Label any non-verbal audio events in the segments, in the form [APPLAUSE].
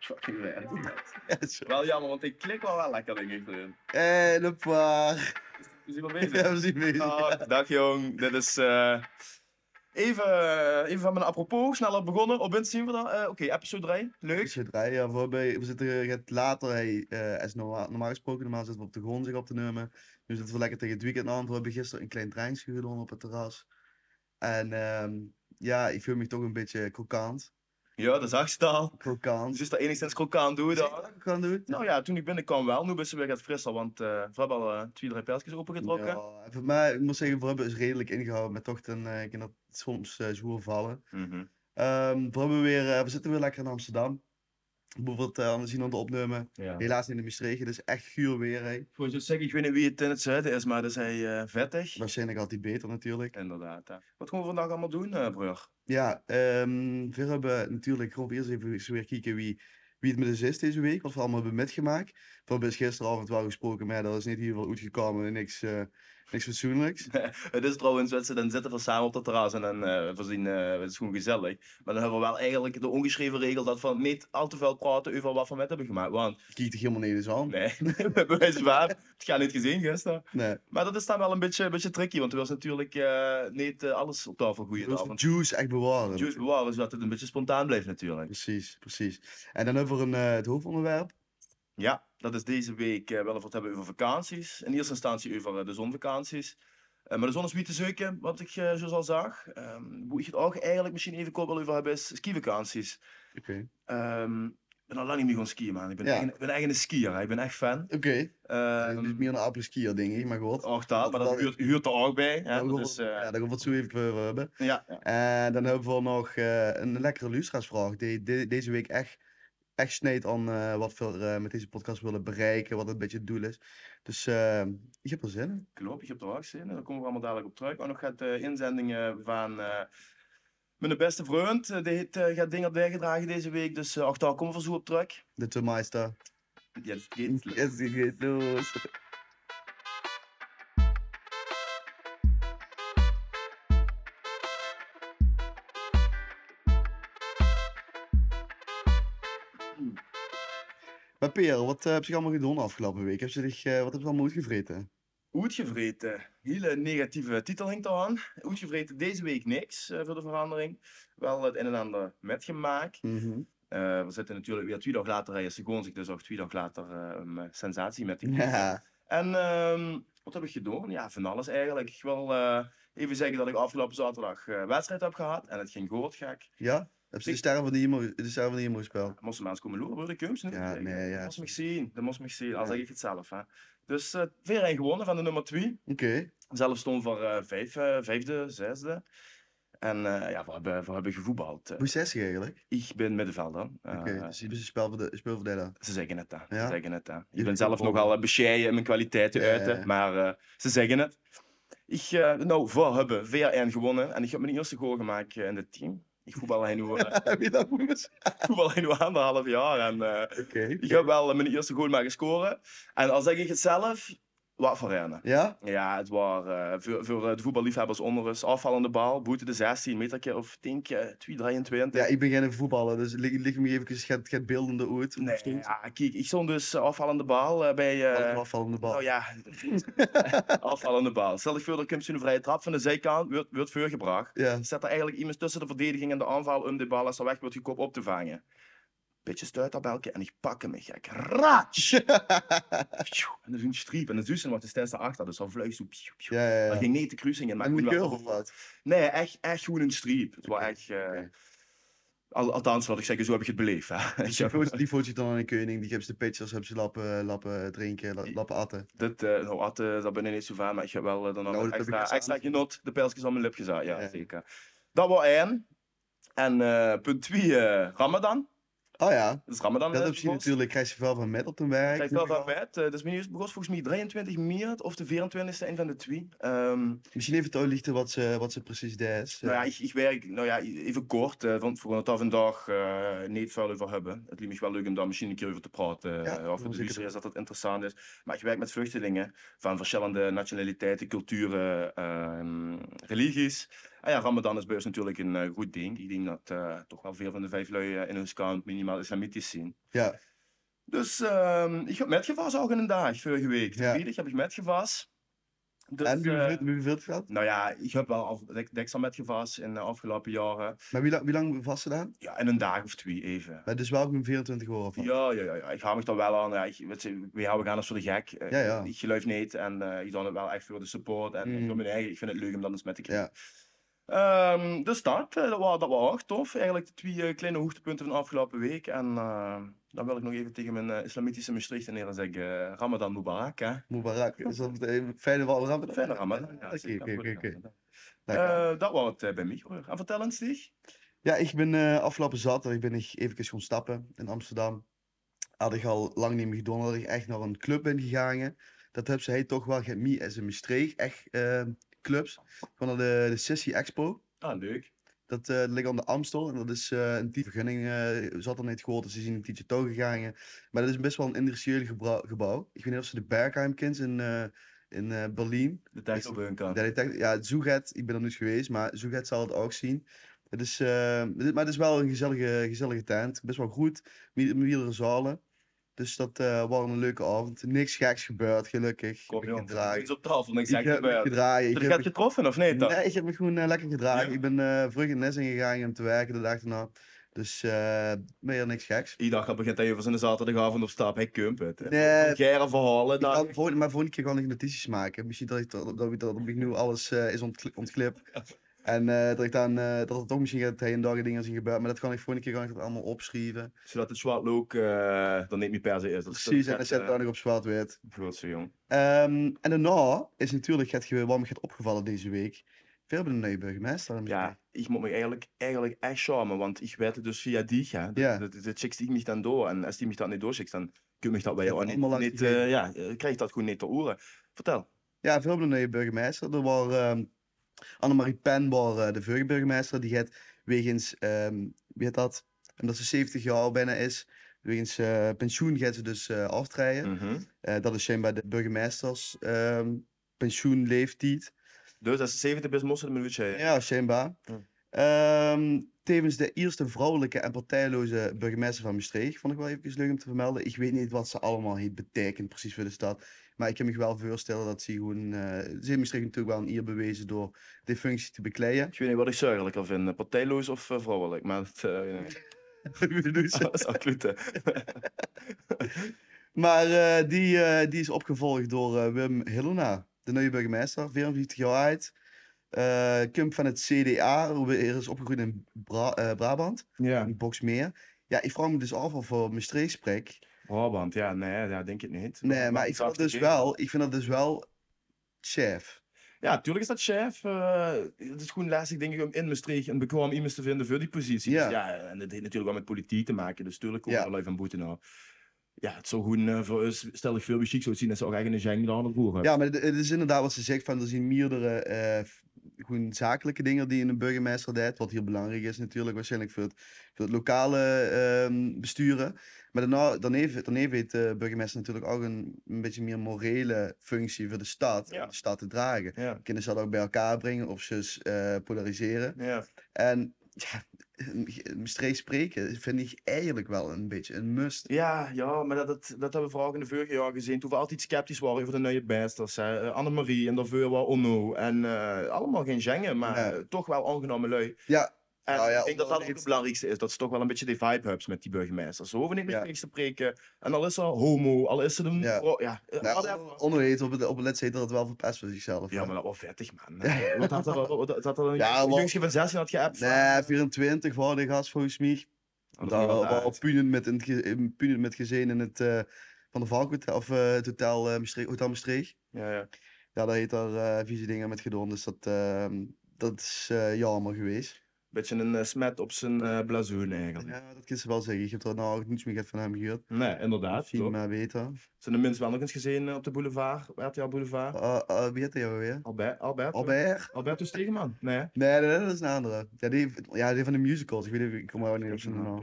Fucking vet. Ja, zo. Wel jammer, want ik klik wel wel lekker denk ik erin. [LAUGHS] En een paar. Dus Is hij wel [LAUGHS] Ja, bezig? we zien bezig. Ah, dag jong, dit is eh, even, eh, even van mijn apropos, sneller begonnen op Instagram. vandaag. Eh, Oké, episode 3, leuk. Shit, hè, ja, voorbij. We zitten eh, het later, hey, eh, is normaal, normaal gesproken, normaal zitten we op de grond zich op te nemen. Nu zitten we lekker tegen het weekend aan. We hebben gisteren een klein treintje gedaan op het terras. En ehm, ja, ik voel me toch een beetje krokant. Ja, dat zag je al. Krokant. Dus is dat enigszins krokant, doe je Zeg dat? wat ik kan doen? Nou ja, toen ik binnenkwam wel, nu is ze weer het frisser, want eh, we hebben al eh, twee, drie pijltjes opengetrokken. Ja, en voor mij, ik moet zeggen, we hebben is redelijk ingehouden, maar toch dan, eh, kan dat soms eh zwoer vallen. Mhm. Ehm, we, hebben weer, eh, we zitten weer lekker in Amsterdam. Bijvoorbeeld eh aan de zien aan de opnemen. ja. Helaas niet in de Maastricht, het is echt guur weer. hè. Voor zo'n zeg, ik weet niet wie het in het zuiden is, maar dat is hij eh, vettig. Waarschijnlijk altijd beter natuurlijk. Inderdaad. hè. Wat gaan we vandaag allemaal doen, eh broer? Ja, ehm we hebben natuurlijk gewoon eerst even eens weer kijken wie, wie het met ons is deze week, wat we allemaal hebben metgemaakt. We hebben dus gisteravond wel gesproken, maar ja, dat is niet heel veel uitgekomen en niks, eh, niks fatsoenlijks. Het is trouwens, dat ze dan zitten we samen op dat terras en dan eh, we zien, eh, het is gewoon gezellig. Maar dan hebben we wel eigenlijk de ongeschreven regel dat van niet al te veel praten over wat we met hebben gemaakt. Want, Kiet er helemaal nergens aan. nee, [LAUGHS] bij wijze van, het gaat niet gezien gisteren. Nee. Maar dat is dan wel een beetje, een beetje tricky, want er was natuurlijk eh, niet eh, alles op tafel Je goeie wilt de avond. juice echt bewaren. Juice bewaren, zodat het een beetje spontaan blijft natuurlijk. Precies, precies. En dan hebben we een, eh, het hoofdonderwerp. Ja, dat is deze week eh, wel even wat hebben over vakanties. In eerste instantie over eh, de zonvakanties. Eh, maar de zon is niet te zoeken, wat ik eh, zoals al zag. Ehm hoe ik het ook eigenlijk misschien even kort wil over hebben, is skivakanties. Oké. Ehm, ik ben al lang niet meer gaan skiën, man. Ik ben, Ja. echt, ik ben echt een skier, hè. ik ben echt fan. Oké. Ehm, Eh, dit is meer een apres-skier, denk ik, maar goed. Ook dat, maar dat Wel- huurt, huurt er ook bij. Hè? Daar gaan Dat we- is, eh, ja, daar gaan we het zo even over hebben. ja, ja. En dan hebben we nog eh, een lekkere lustraarsvraag die de- deze week echt, echt snijdt aan eh, wat we eh, met deze podcast willen bereiken, wat een beetje het doel is. Dus eh, ik heb er zin in. Klopt, je hebt er ook zin in. Daar komen we allemaal dadelijk op terug. Ook nog gaat de inzendingen van eh, mijn beste vriend. eh, Die heeft, eh, gaat dingen bijgedragen deze week. Dus eh, ook daar komen we zo op terug. De Tomeister. Jetzt [LAUGHS] Yes, geht's los. die geht los. Maar Peer, wat eh, heb je allemaal gedaan afgelopen week? Heb je zich, eh, wat heb je allemaal uitgevreten? Oetjevreten. Hele negatieve titel hangt al aan. Oetjevreten deze week niks eh, voor de verandering. Wel het een en ander metgemaakt. Mhm. Eh, we zitten natuurlijk weer twee dagen later rijden. Ze gewoon zich dus ook twee dagen later eh, een eh, sensatie met [LAUGHS] die. Ja, En ehm, wat heb ik gedaan? Ja, van alles eigenlijk. Ik wil eh, even zeggen dat ik afgelopen zaterdag eh, wedstrijd heb gehad. En het ging goed gek. ja? Heb je de sterren van de Imo- de sterren van de Imo gespeeld? Moesten mensen komen lopen, wilde ik hem niet. Ja, zeggen. nee, ja. Dat moest me zien. Dat moest me zien. Al Ja. zeg ik het zelf. Hè. Dus eh 4 gewonnen van de nummer 2. Oké. zelf stond voor eh, vijf, eh, vijfde, zesde. En eh, ja, we hebben, we hebben gevoetbald. Eh, Hoe is het eigenlijk? ik ben middenvelder. Eh, Oké, dus je bent een spelverde- speelverdeler. [LAUGHS] Ze zeggen het, hè. Ja? Ze zeggen het, hè. Ik Jullie ben zelf voetballen. nogal eh, bescheiden in mijn kwaliteiten Ja, ja, uiten, ja. maar eh, ze zeggen het. Ik, eh, nou, we hebben VRN gewonnen en ik heb mijn eerste goal gemaakt eh, in het team. Ik voetbal hij nu, [LAUGHS] eh, Heb je dat moeten ik voetbal hij nu anderhalf jaar en eh, Oké. ik heb wel eh, mijn eerste goal maar gescoren. En al zeg ik het zelf, wat voor rennen. Ja? Ja, het was eh, voor, voor eh, de voetballiefhebbers onder ons afvallende bal, boete de 16 meter keer of 10 keer eh, 2, 23. Ja, ik ben geen voetballer, dus lig, lig me even het, het, het beeldende uit. hoe het nee, stond. ja, kijk, ik stond dus eh, afvallende bal eh, bij... eh, Alles afvallende bal. nou ja, [LAUGHS] afvallende bal. Stel ik voor, er komt een vrije trap van de zijkant, wordt, wordt voorgebracht. Ja. [LAUGHS] Dan zet er eigenlijk iemand tussen de verdediging en de aanval om de bal als er weg wordt gekop op te vangen. Beetje stuitabelke en ik pak hem, gek. Ratsch! en dan zo'n striep en dan zussen wordt de stijl achter, dus dan vleug zo... piew, piew. Ja, ja, Dat ja. ging niet de kruising in, maar En ik met kon wel curve of gevoel- [LAUGHS] wat? Nee, echt, echt gewoon een streep. Het was Oké, echt... eh, oké. al- althans, wat ik zeg, zo heb ik het beleefd. Hè. [LAUGHS] Dus die voelt- die voelt je dan aan een koning, die geeft ze de pitchers, hebben ze lappen, lappen drinken, la- lappen atten. Dit, eh, nou, at, eh, dat ben ik niet zo van, maar ik heb wel eh, dan Nou, al dat heb ik extra, gezien. extra genot de pijltjes aan mijn lip gezet. Ja, Ja. zeker. Dat was één. En eh, punt twee, eh, Ramadan. Oh ja, Dat is Ramadan. dat eh, heb je begonnen. natuurlijk, krijg je wel van met op den werk. Krijg wel van met. eh, dus mijn eerste begon volgens mij 23 maart of de 24e, een van de twee. Ehm, Misschien even toelichten wat ze, wat ze precies deed. is. Nou ja, ik, ik werk nou ja, even kort, eh, want voor een af en dag eh, niet veel over hebben. Het liep me wel leuk om daar misschien een keer over te praten. Ja, eh, of het zeker. luister is dat het interessant is. Maar ik werk met vluchtelingen van verschillende nationaliteiten, culturen, ehm, religies. En ja, Ramadan is beurs natuurlijk een eh, goed ding. Ik denk dat eh, toch wel veel van de vijf lui eh, in hun kamp minimaal islamitisch zien. Ja, Dus ehm, ik heb metgevas ook in een dag, vorige week. De Ja. vrijdag heb ik metgevas. Dus, en wie eh, hoeveel, wie hoeveel het gehad? nou ja, ik heb wel af, dek- deksel metgevas in de afgelopen jaren. Maar wie, lang- wie lang vastgedaan? Ja, in een dag of twee even. Maar dus wel gewoon 24 uur of wat? Ja, ja, ja, ja, ik hou me daar wel aan. Ja, ik, weet je, we houden gaan als voor de gek. Eh, Ja, ja. Ik geloof niet en eh, ik doe het wel echt voor de support. En ik, Mm. doe mijn eigen, ik vind het leuk om dat eens met te Ja. krijgen. Ehm, dus dat, eh, dat was, dat was ook tof. Eigenlijk de twee eh, kleine hoogtepunten van de afgelopen week. En eh, dan wil ik nog even tegen mijn eh, islamitische Maastrichter en zeggen, eh, Ramadan Mubarak. Hè? Mubarak, is dat meteen fijne wal Ramadan? Fijne Ramadan. Ja, Ja, Oké, zeker. oké, oké, Goede oké. Ramadan. Lekker. Eh, dat was het eh, bij mij hoor. En vertel eens, Stig. Ja, ik ben eh afgelopen zaterdag ben ik even gaan stappen in Amsterdam. Had ik al lang niet meer gedaan, had ik echt naar een club ben gegaan. Dat heb ze hij toch wel gemie en in Maastricht, echt eh, clubs. Van naar de, de Sissy Expo. Ah, leuk. Dat eh, ligt aan de Amstel en dat is eh, een type vergunning, eh zat er niet gehoord, dus ze zien een tientje togen gegaan. eh. Maar dat is best wel een industrieel gebra- gebouw. Ik weet niet of ze de Bergheim kent in, eh, in eh, Berlijn. De tijd op hun kant. Ja, die tech- ja, Zuget, ik ben er niet geweest, maar Zuget zal het ook zien. Het is, eh, het is- maar het is wel een gezellige, gezellige tent. Best wel goed, me- meerdere zalen. Dus dat eh was een leuke avond. Niks geks gebeurd, gelukkig. Kom ik heb jong, me gedragen. niks op tafel, niks Ik echt heb me gebeurd. gedragen. Ik Heb je heb het me, getroffen of niet dan? nee, ik heb me gewoon eh, lekker gedragen. Ja. Ik ben eh vlug in les ingegaan om te werken de dag daarna. Dus eh meer niks geks. Ik dacht, dat begint even zijn zaterdagavond op stap. Hij kump het. Nee. Gerre verhalen. Ik kan Dan... volgende, maar volgende keer kan ik notities maken. Misschien dat ik dat, dat, ik- dat opnieuw alles eh, is ontkli- [LAUGHS] ontglipt. En eh, dat ik dan eh, dat het ook misschien gaat heen en dagen dingen zien gebeuren. Maar dat kan ik volgende keer kan ik dat allemaal opschrijven. Zodat het zwart look eh dan niet meer per se is. Dat is- Precies, en dat dan is, zet ik eh, dan nog op zwart-wit. Grootste jong. Ehm, en daarna is natuurlijk het ge- wat me gaat opgevallen deze week. Veel bij de nieuwe burgemeester. en Ja, ik moet me eigenlijk, eigenlijk echt charmen, want ik werd het dus via die. Ja. De, Ja. de, de, chicks die ik me dan door. En als die me dat niet doorchikt, dan kun je me dat bij Gaat jou niet. allemaal langs niet die eh, genen. ja, eh, krijg je dat gewoon niet te oren. Vertel. Ja, veel van de nieuwe burgemeester. Er was ehm Annemarie Pen, was, eh, de vorige burgemeester, die gaat wegens, ehm, wie heet dat? Omdat ze 70 jaar bijna is, wegens eh, pensioen gaat ze dus eh aftreden. Mhm. Eh, dat is schijnbaar de burgemeesters ehm, pensioenleeftijd. Dus als je 70 bent, moest het een minuutje. Ja, schijnbaar. Hm. Ehm, tevens de eerste vrouwelijke en partijloze burgemeester van Maastricht. Vond ik wel even leuk om te vermelden. Ik weet niet wat ze allemaal heeft betekend precies voor de stad. Maar ik kan me wel voorstellen dat ze gewoon... eh ze heeft Maastricht natuurlijk wel een eer bewezen door die functie te [LAUGHS] bekleiden. Ik weet niet wat ik zuigelijker vind, partijloos of eh, vrouwelijk, maar dat eh, weet ik niet. [LAUGHS] Dus, dat is absoluut. [LAUGHS] hè. maar eh, die, eh, die is opgevolgd door eh, Wim Hillena, de nieuwe burgemeester. 54 jaar oud. Eh, komt van het CDA. Hij is opgegroeid in Bra- eh, Brabant. Ja. een box meer. Ja, ik vraag me dus af of voor Maastricht spreek. Brabant, Oh, ja, nee, ja, denk ik niet. Nee, maar het ik vind zou dat dus het idee. wel, ik vind dat dus wel chef. Ja, tuurlijk is dat chef. eh, het is gewoon lastig, denk ik, om in Maastricht een bekwaam iemand te vinden voor die positie. Dus Ja. ja, en dat heeft natuurlijk wel met politiek te maken, dus tuurlijk komen Ja. er lui van boete nou. Ja, het zou gewoon eh, voor ons, stel ik veel chic zou zien, dat ze ook eigenlijk een Schengen aan het roeren. Ja, maar het- het is inderdaad wat ze zegt van er zijn meerdere eh, f- gewoon zakelijke dingen die een burgemeester deed. Wat hier belangrijk is natuurlijk waarschijnlijk voor het, voor het lokale ehm, besturen. Maar daarna, dan heeft, dan heeft de burgemeester natuurlijk ook een, een beetje meer morele functie voor de stad. Ja. Om de stad te dragen. Ja. Kinderen dat ook bij elkaar brengen of ze eh, polariseren. Ja. En ja, Maastricht spreken vind ik eigenlijk wel een beetje een must. Ja, ja, maar dat, dat, dat hebben we vooral in de vorige jaar gezien. Toen we altijd sceptisch waren over de nieuwe bijsters. hè. Eh, Annemarie en daarvoor wel Onno. En eh, allemaal geen Schengen, maar Nee. eh, toch wel aangenomen lui. Ja, En Nou ja, ik denk dat dat ook onderhand- het belangrijkste is. Dat ze toch wel een beetje die vibe hebben met die burgemeester. Ze hoeven niet meer Ja. tegen te preken. En al is ze homo, al is ze een Ja. vrouw. Ja, eh, whatever. nou, onderheet op het op het let's heet dat het wel verpest voor zichzelf. ja, hè. maar dat was vettig, man. Eh, [LAUGHS] Wat had er, wat- wat- wat had er een Ja, een wel- jongetje van 16 had geappt? van, eh, Nee, 24 was de gast volgens mij. dat Daar ging wel was uit. punend met, een ge- in- punend met gezin in het eh, Van de Valk Hotel, of eh, het hotel, eh, Maastricht, hotel Maastricht. Ja, ja. Ja, daar heet daar eh, vieze dingen met gedaan, dus dat, ehm, dat is eh, jammer geweest. Beetje een eh, smet op zijn eh, blazoen eigenlijk. Ja, dat kan ze wel zeggen. Ik heb er nou ook niets meer van hem gehoord. Nee, inderdaad. Misschien eh, klopt. maar weten. Zijn de mensen wel nog eens gezien eh, op de boulevard, op RTL Boulevard? Eh, eh, wie heet hij jou weer? Albert, Albert, Albert? Alberto Stegeman? Nee. Nee, nee, nee, dat is een andere. Ja, die, ja, die van de musicals. Ik weet niet, ik kom er ook niet op zijn naam.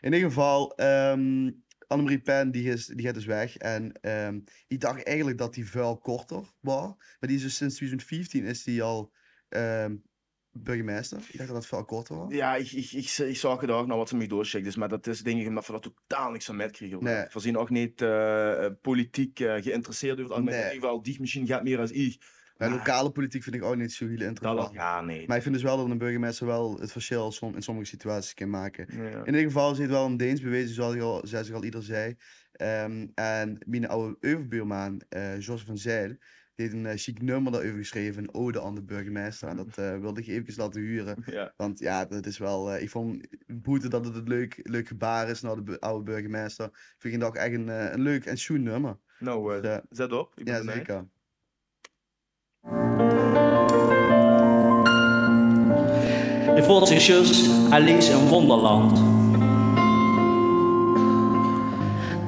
In ieder geval, ehm Annemarie Pen, die, is, die gaat dus weg. En ehm ik dacht eigenlijk dat die vuil korter was. Maar die is dus sinds 2015 is die al ehm, burgemeester. Ik dacht dat dat veel korter was. Ja, ik, ik, ik, ik zag het ook nog wat ze mee doorcheckt is, maar dat is denk ik omdat we daar totaal niks aan met kregen. Nee. We zijn ook niet eh, eh, politiek eh, geïnteresseerd over het algemeen. Nee. In ieder geval, die misschien gaat meer als ik. Maar Ah. lokale politiek vind ik ook niet zo heel Dat interessant. al- ja, nee. Maar ik vind dus wel dat een burgemeester wel het verschil som- in sommige situaties kan maken. Ja. In ieder geval is het wel een Deens bewezen, zoals ik al, zoals ik al ieder zei. Ehm, en mijn oude overbuurman, eh Jos van Zeil, die heeft een eh, chic nummer daarover geschreven, een ode aan de burgemeester. En dat eh, wilde ik even laten huren. Ja. Want ja, dat is wel. eh, ik vond boete dat het een leuk, leuk gebaar is naar de bu- oude burgemeester. Vind ik dat ook echt een, eh, een leuk en schoen nummer. Nou, eh, Dus, eh, zet op. Ik ben ja, benieuwd. zeker. Het voelt zich just Alice in Wonderland.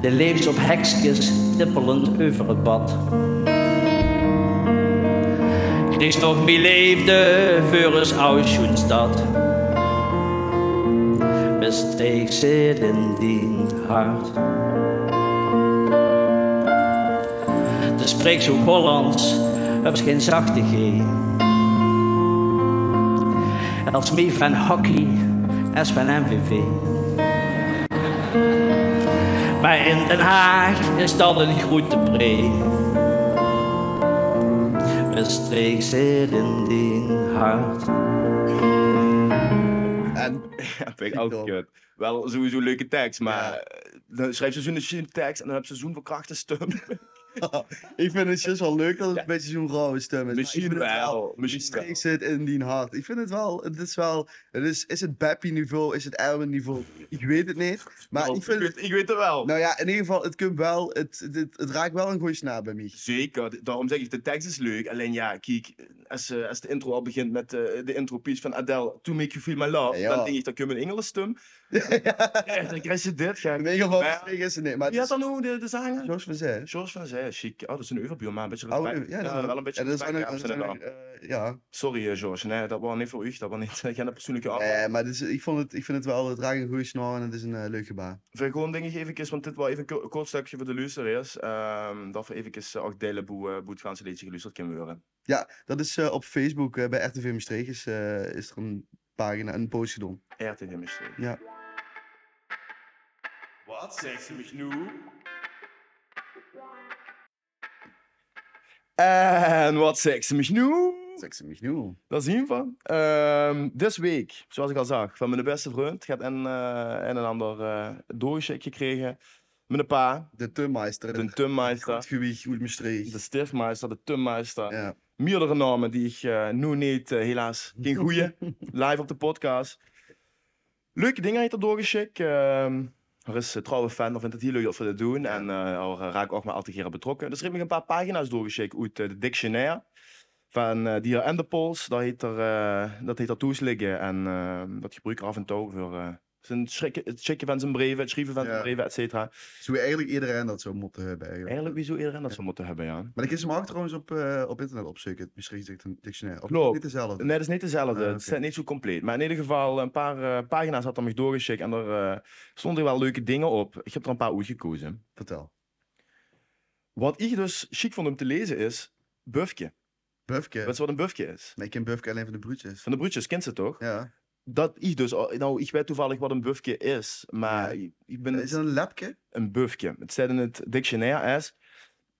De leeft op hekskes tippelend over het bad. Christophe wie leefde voor ons Auschwitzstad. Besteeg zit in die hart. De spreekt zo Hollands, er is geen zachtigheid. Als mee van hockey, als van MVV. Maar in Den Haag is dat een grote breed. Een streek zit in die hart. En [LAUGHS] Ja, vind ik altijd Titel. kut. Wel sowieso een leuke tekst, maar Ja. eh, dan schrijf seizoen een shit tekst en dan heb je seizoen voor krachten stem. [LAUGHS] ik vind het just wel leuk dat het Ja. een beetje zo'n rauwe stem is. Misschien wel, misschien wel. Ik zit in die hart. Ik vind het wel, het is wel, het is, is het Beppy niveau, is het Erwin niveau? Ik weet het niet. [LAUGHS] Maar Wel, ik vind het, weet, Nou, ik weet het wel. nou ja, in ieder geval, het kunt wel, het, het, het raakt wel een goede snaar bij mij. [LAUGHS] Zeker, d- daarom zeg ik, de tekst is leuk. Alleen ja, kijk, als, eh, als de intro al begint met eh, de intro piece van Adele, To Make You Feel My Love, Ja. dan denk ik, dat kun je een Engels [LAUGHS] stem. Echt, dan krijg je dit, gek. In ieder geval, Maar- het is het niet. Maar Wie had het is, dan nu de, de zanger? zoals we zeiden. George van Zij, chic. Oh, dat is een overbuur, maar een beetje Oh, respect. ja, dat wel een beetje ja, dat is respect, ook ja, nog- op dat is zijn ook naam. nog, eh, ja. Sorry, eh, George. Nee, dat was niet voor u. Dat was niet. [LAUGHS] Ik heb een persoonlijke afval. Eh, maar dit is, ik, vond het, ik vind het wel, het raakt een goede snor en het is een eh, leuk gebaar. Ver gewoon denk ik even, want dit was even een ko- kort stukje voor de luisteraars. ehm dat we even ook delen hoe, eh, hoe het Franse liedje geluisterd kan worden. Ja, dat is eh, op Facebook eh, bij RTV Maastricht is, eh, is er een pagina, een post gedaan. RTV Maastricht. Ja. Wat zegt ze mich nu? En wat zegt ze mich nu? Zeg ze mich nu. Daar zien we. Ehm dit week, zoals ik al zag, van mijn beste vriend. gaat een eh en een ander eh doosje gekregen. Mijn pa, De Tummeister. de tummeister, Goed gewicht, goed de Maastricht. stiftmeister, de tummeister. Ja. meerdere namen die ik eh, nu niet, eh, helaas, geen [LAUGHS] goeie, live op de podcast. Leuke dingen heeft er doorgeschikt. Ehm er is een trouwe fan, dan vindt het heel leuk dat we dit doen. En eh daar raak ik ook maar al te graag betrokken. Dus er heeft me een paar pagina's doorgeschikt uit eh, de dictionaire. Van eh Dier en de Pols, dat heet er, eh dat heet er toes liggen. En eh, dat gebruik ik af en toe voor eh, zijn schrikken- het schikken van zijn breven, het schrijven van zijn Ja. breven, et cetera. Zo eigenlijk iedereen dat zo moeten hebben eigenlijk. Eigenlijk wieso iedereen dat ze moeten hebben, ja. Maar ik is hem ook trouwens op, eh, op internet opzoeken, het Maastricht zegt een dictionair. Of Klopt. niet dezelfde. Nee, dat is niet dezelfde. Ah, Het oké. staat niet zo compleet. Maar in ieder geval, een paar eh, pagina's had hij me doorgeschikt en er eh, stonden wel leuke dingen op. Ik heb er een paar uitgekozen. Vertel. Wat ik dus chic vond om te lezen is bufje. Bufke. Weet je wat een bufje is? Maar ik ken Bufke alleen van de broertjes. Van de broertjes kent ze toch? Ja. Dat ik dus, al- nou, ik weet toevallig wat een bufje is, maar ik- ik ben Is dat een lapke? een bufje. Het staat in het dictionair als,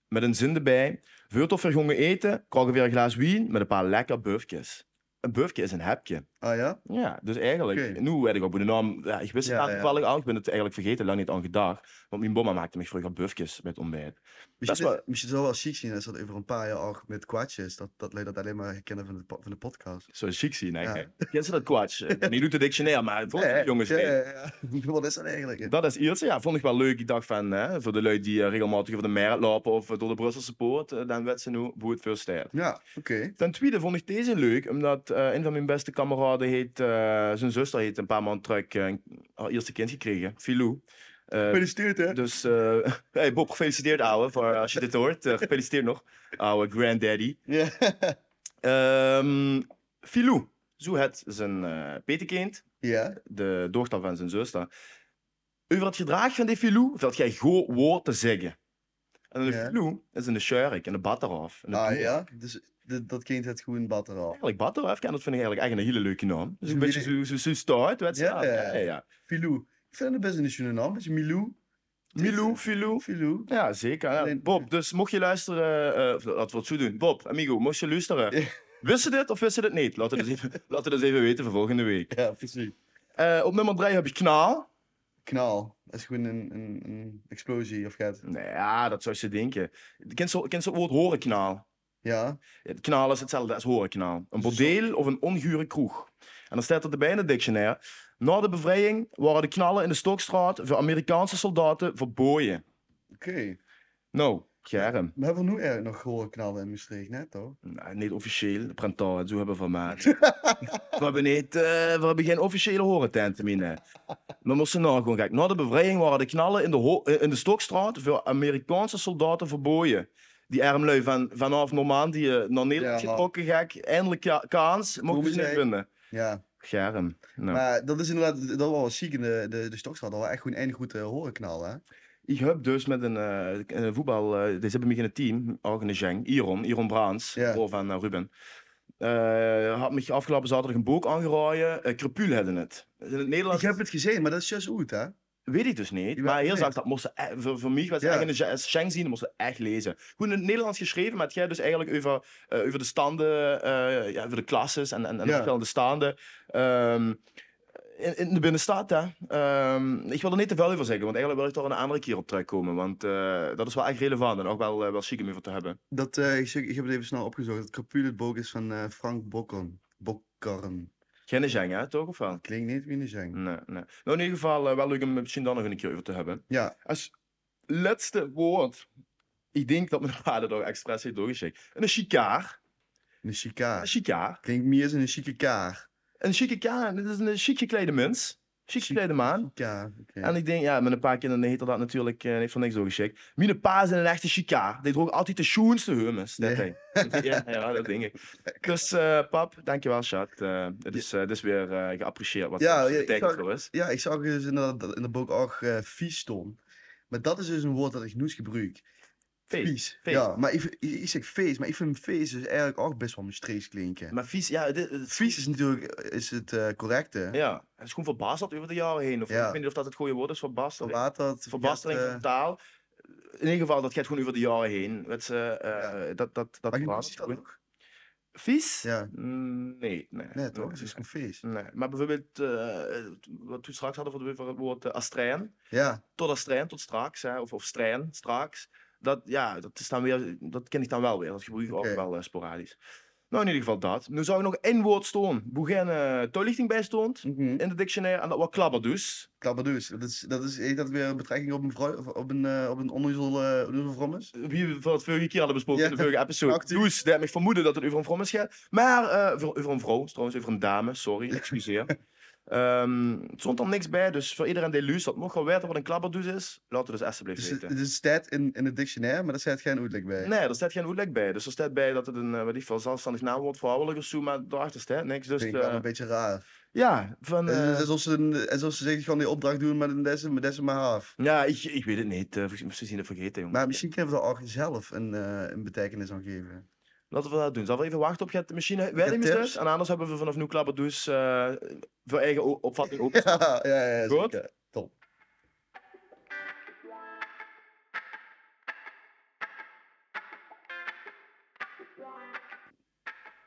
met een zin erbij, Veurt of vergongen eten, krijgen weer een glas wijn met een paar lekker bufjes. Een bufje is een hapje. Ah ja? Ja, dus eigenlijk, Oké. nu werd ik op de naam, ja, ik wist het Ja, ja, ja. toevallig al, ik ben het eigenlijk vergeten, lang niet aan gedacht. Want mijn mama maakte me vroeger bufjes met ontbijt. Misschien, wel- is- misschien zou wel chic zien als dat over een paar jaar ook met kwartjes, dat, dat lui dat alleen maar herkennen van de, po- van de podcast. Zo chic zien, hè? [LAUGHS] Ja. kijk. Ken ze dat kwats? Nu doet de dictionair, maar het wordt Nee, jongens. ja, weet. ja, ja. [LAUGHS] Wat is dat eigenlijk? hè? Dat is eerste, ja, vond ik wel leuk. Ik dacht van, hè, voor de lui die eh, regelmatig over de Merit lopen of eh, door de Brusselse poort, eh, dan weet ze nu hoe het first staat. Ja, oké. Ten tweede vond ik deze leuk, omdat eh, een van mijn beste kameraden heet, eh, zijn zuster heeft een paar maanden terug eh, een- haar eerste kind gekregen, Filou. Eh, Gefeliciteerd hè? Dus, eh, [LAUGHS] hey Bob, gefeliciteerd ouwe, voor, als je dit hoort. Eh, gefeliciteerd nog, ouwe granddaddy. Ja. Ehm Filou, zo het zijn eh petekind, ja. de dochter van zijn zuster. Over het gedrag van die Filou valt jij goed woord te zeggen. En een Ja. Filou is een sherk, een batteraf. Ah ja. Dus de- dat kind het gewoon batter al. Eigenlijk Bato Afghan, dat vind ik eigenlijk echt een hele leuke naam. Dus een Wie beetje zo, zo, zo start, wedstrijd. Ja. Ja, ja, ja. Filou. Ik vind het best een schöne naam. Beetje Milou. Milou, Filou. Filou. Ja, zeker. Ja, Alleen- Bob, dus mocht je luisteren, eh, of laten we het zo doen. Bob, amigo, mocht je luisteren. Ja. Wist je dit of wist je dit niet? Laten we dat [LAUGHS] even, laten we dat even weten voor volgende week. Ja, precies. Eh, op nummer 3 heb je Knaal. Knal. Dat is gewoon een, een, een explosie of gaat. Nou ja, dat zou je denken. Kent zo, kent zo het woord horenknaal? Ja. Het knaal is hetzelfde als horenknaal. Een bordeel of een ongure kroeg. En dan staat er erbij in de dictionaire. Na de bevrijding waren de knallen in de Stokstraat voor Amerikaanse soldaten verboden. Oké. Nou, Germ. We hebben nu eigenlijk nog gehoord knallen in Maastricht, net toch? Nou, niet officieel, de prental, het zo hebben we van maat. we, hebben niet, eh, we hebben geen officiële horententen meer. nee. Dan moesten we nou gewoon kijken. Na de bevrijding waren de knallen in de, ho- eh, in de Stokstraat voor Amerikaanse soldaten verboden. Die armlui van, vanaf Normandië naar Nederland Ja. getrokken, gek. Eindelijk ka- kans, mochten ze Komisch, niet hè? winnen. Ja. Germ. Nou. Maar dat is inderdaad, dat was wel chic in de, de, de Stokstraat. Dat was echt gewoon één goed eh, horen knallen, hè? Ik heb dus met een, eh, een voetbal, eh deze hebben me in het team, ook in de Genk, Iron, Iron Braans, Ja. broer van eh, Ruben. Eh, had me afgelopen zaterdag een boek aangeraaien. Eh Krepuul hadden het. In het Ik Nederlands heb het gezien, maar dat is juist goed, hè? weet ik dus niet. Je maar weet heel het zacht, niet. dat moesten e- voor, voor mij was het Ja. echt in de Gen- als Genk zien, moesten echt lezen. Goed in het Nederlands geschreven, maar het gaat dus eigenlijk over, eh, over de standen, eh, ja, over de klasses en, en, en de Ja. verschillende standen. ehm, in, in de binnenstad, hè. Ehm, ik wil er niet te veel over zeggen, want eigenlijk wil ik er een andere keer op terugkomen. Want eh, dat is wel echt relevant en ook wel, eh, wel chic om over te hebben. Dat, eh, ik, zeg- ik heb het even snel opgezocht. Dat Crapule het boek is van eh, Frank Bokkorn. Bokkorn. Geen Genk, hè? Toch of wel? Klinkt niet wie een zang. Nee, nee. Nou, in ieder geval eh, wel leuk om misschien daar nog een keer over te hebben. Ja, Als laatste woord. Ik denk dat mijn [LAUGHS] vader nog expres heeft doorgeschikt. Een chikaar. een Een chikaar. chikaar. Klinkt meer als een chique kaar. Een chique kaar. Dat is een chic geklede mens. Chic geklede man. Kaar, oké. En ik denk, ja, met een paar kinderen heeft hij dat natuurlijk eh, heeft van niks doorgeschikt. Mijn pa is een echte chikaar. Die droeg altijd de schoenste hummus. Dat Ja. hij. [LAUGHS] ja, ja, dat denk ik. Dus eh, pap, dankjewel, Shat. Eh het, is, eh, het is weer eh, geapprecieerd wat ja, Ja, ja, ik betekent zag- voor ons. Ja, ik zag dus inderdaad dat in de boek ook eh, vies stond. Maar dat is dus een woord dat ik nooit gebruik. Feest. Vies. feest. Ja, maar ik, vind- ik, ik zeg feest, maar ik vind feest dus eigenlijk ook best wel mijn klinken. Maar vies, ja, dit, het- Vies is natuurlijk eh, is het eh, correcte. Ja, het is gewoon verbasterd over de jaren heen. Of, Ja. Ik weet niet of dat het goede woord is, verbasterd. Verwaterd. verbastering verkeerd, van taal. In ieder geval, dat gaat gewoon over de jaren heen. Dat, eh eh, dat, dat, dat Maar je verandert ziet dat gewoon. ook? Vies? Ja. Mm, Nee, nee. Nee, toch? Het Nee, is een feest. nee. Maar bijvoorbeeld, eh, wat we straks hadden voor het- voor het woord eh, astrijn. Ja, Tot astrijn, tot straks. Hè, of, of strijn, straks. Dat, ja, dat, is dan weer, dat ken ik dan wel weer. Dat gebruik ik Oké. ook wel eh, sporadisch. Nou, in ieder geval dat. Nu zou ik nog één woord staan. Hoe geen eh, toelichting bij stond. Mhm. In de dictionaire. En dat was klabber dus. Klapperdoes. Dat is, dat is, heeft dat weer een betrekking op een, vrou- of op een, eh, op een onnozel uh, vrom is? wie we voor het vorige keer hadden besproken Ja, in de vorige episode. actief. Dus dat heb ik vermoeden dat het over een vrouw is gaat. Maar eh, voor- over een vrouw, is trouwens, over een dame, sorry, excuseer. [LAUGHS] Ehm er stond er niks bij, dus voor iedereen die luistert, mocht wel weten wat een klapperdoes is, laat het dus alsjeblieft Dus weten. het is staat in, in het dictionair, maar daar staat geen uitleg bij. Nee, er staat geen oelek bij. Dus er staat bij dat het een, eh, weet ik veel, zelfstandig naamwoord voor vrouwelijk is, maar daarachter staat niks. Dus vind ik wel eh, een beetje raar. ja, van... Het is- eh, Het is alsof ze, een- alsof ze zeggen, ik ga die opdracht doen met een dessen, met dessen maar half. ja, ik, ik weet het niet. eh, volgens- misschien zien het vergeten, jongens. Maar misschien kunnen we er ook zelf een, eh, een betekenis aan geven. Laten we dat doen. Zal we even wachten op je machine? Wij heb doen tips. dus. En anders hebben we vanaf nu klapperdoes eh voor eigen o- opvatting ook. [LAUGHS] Ja, ja, ja. Goed. zeker. Top.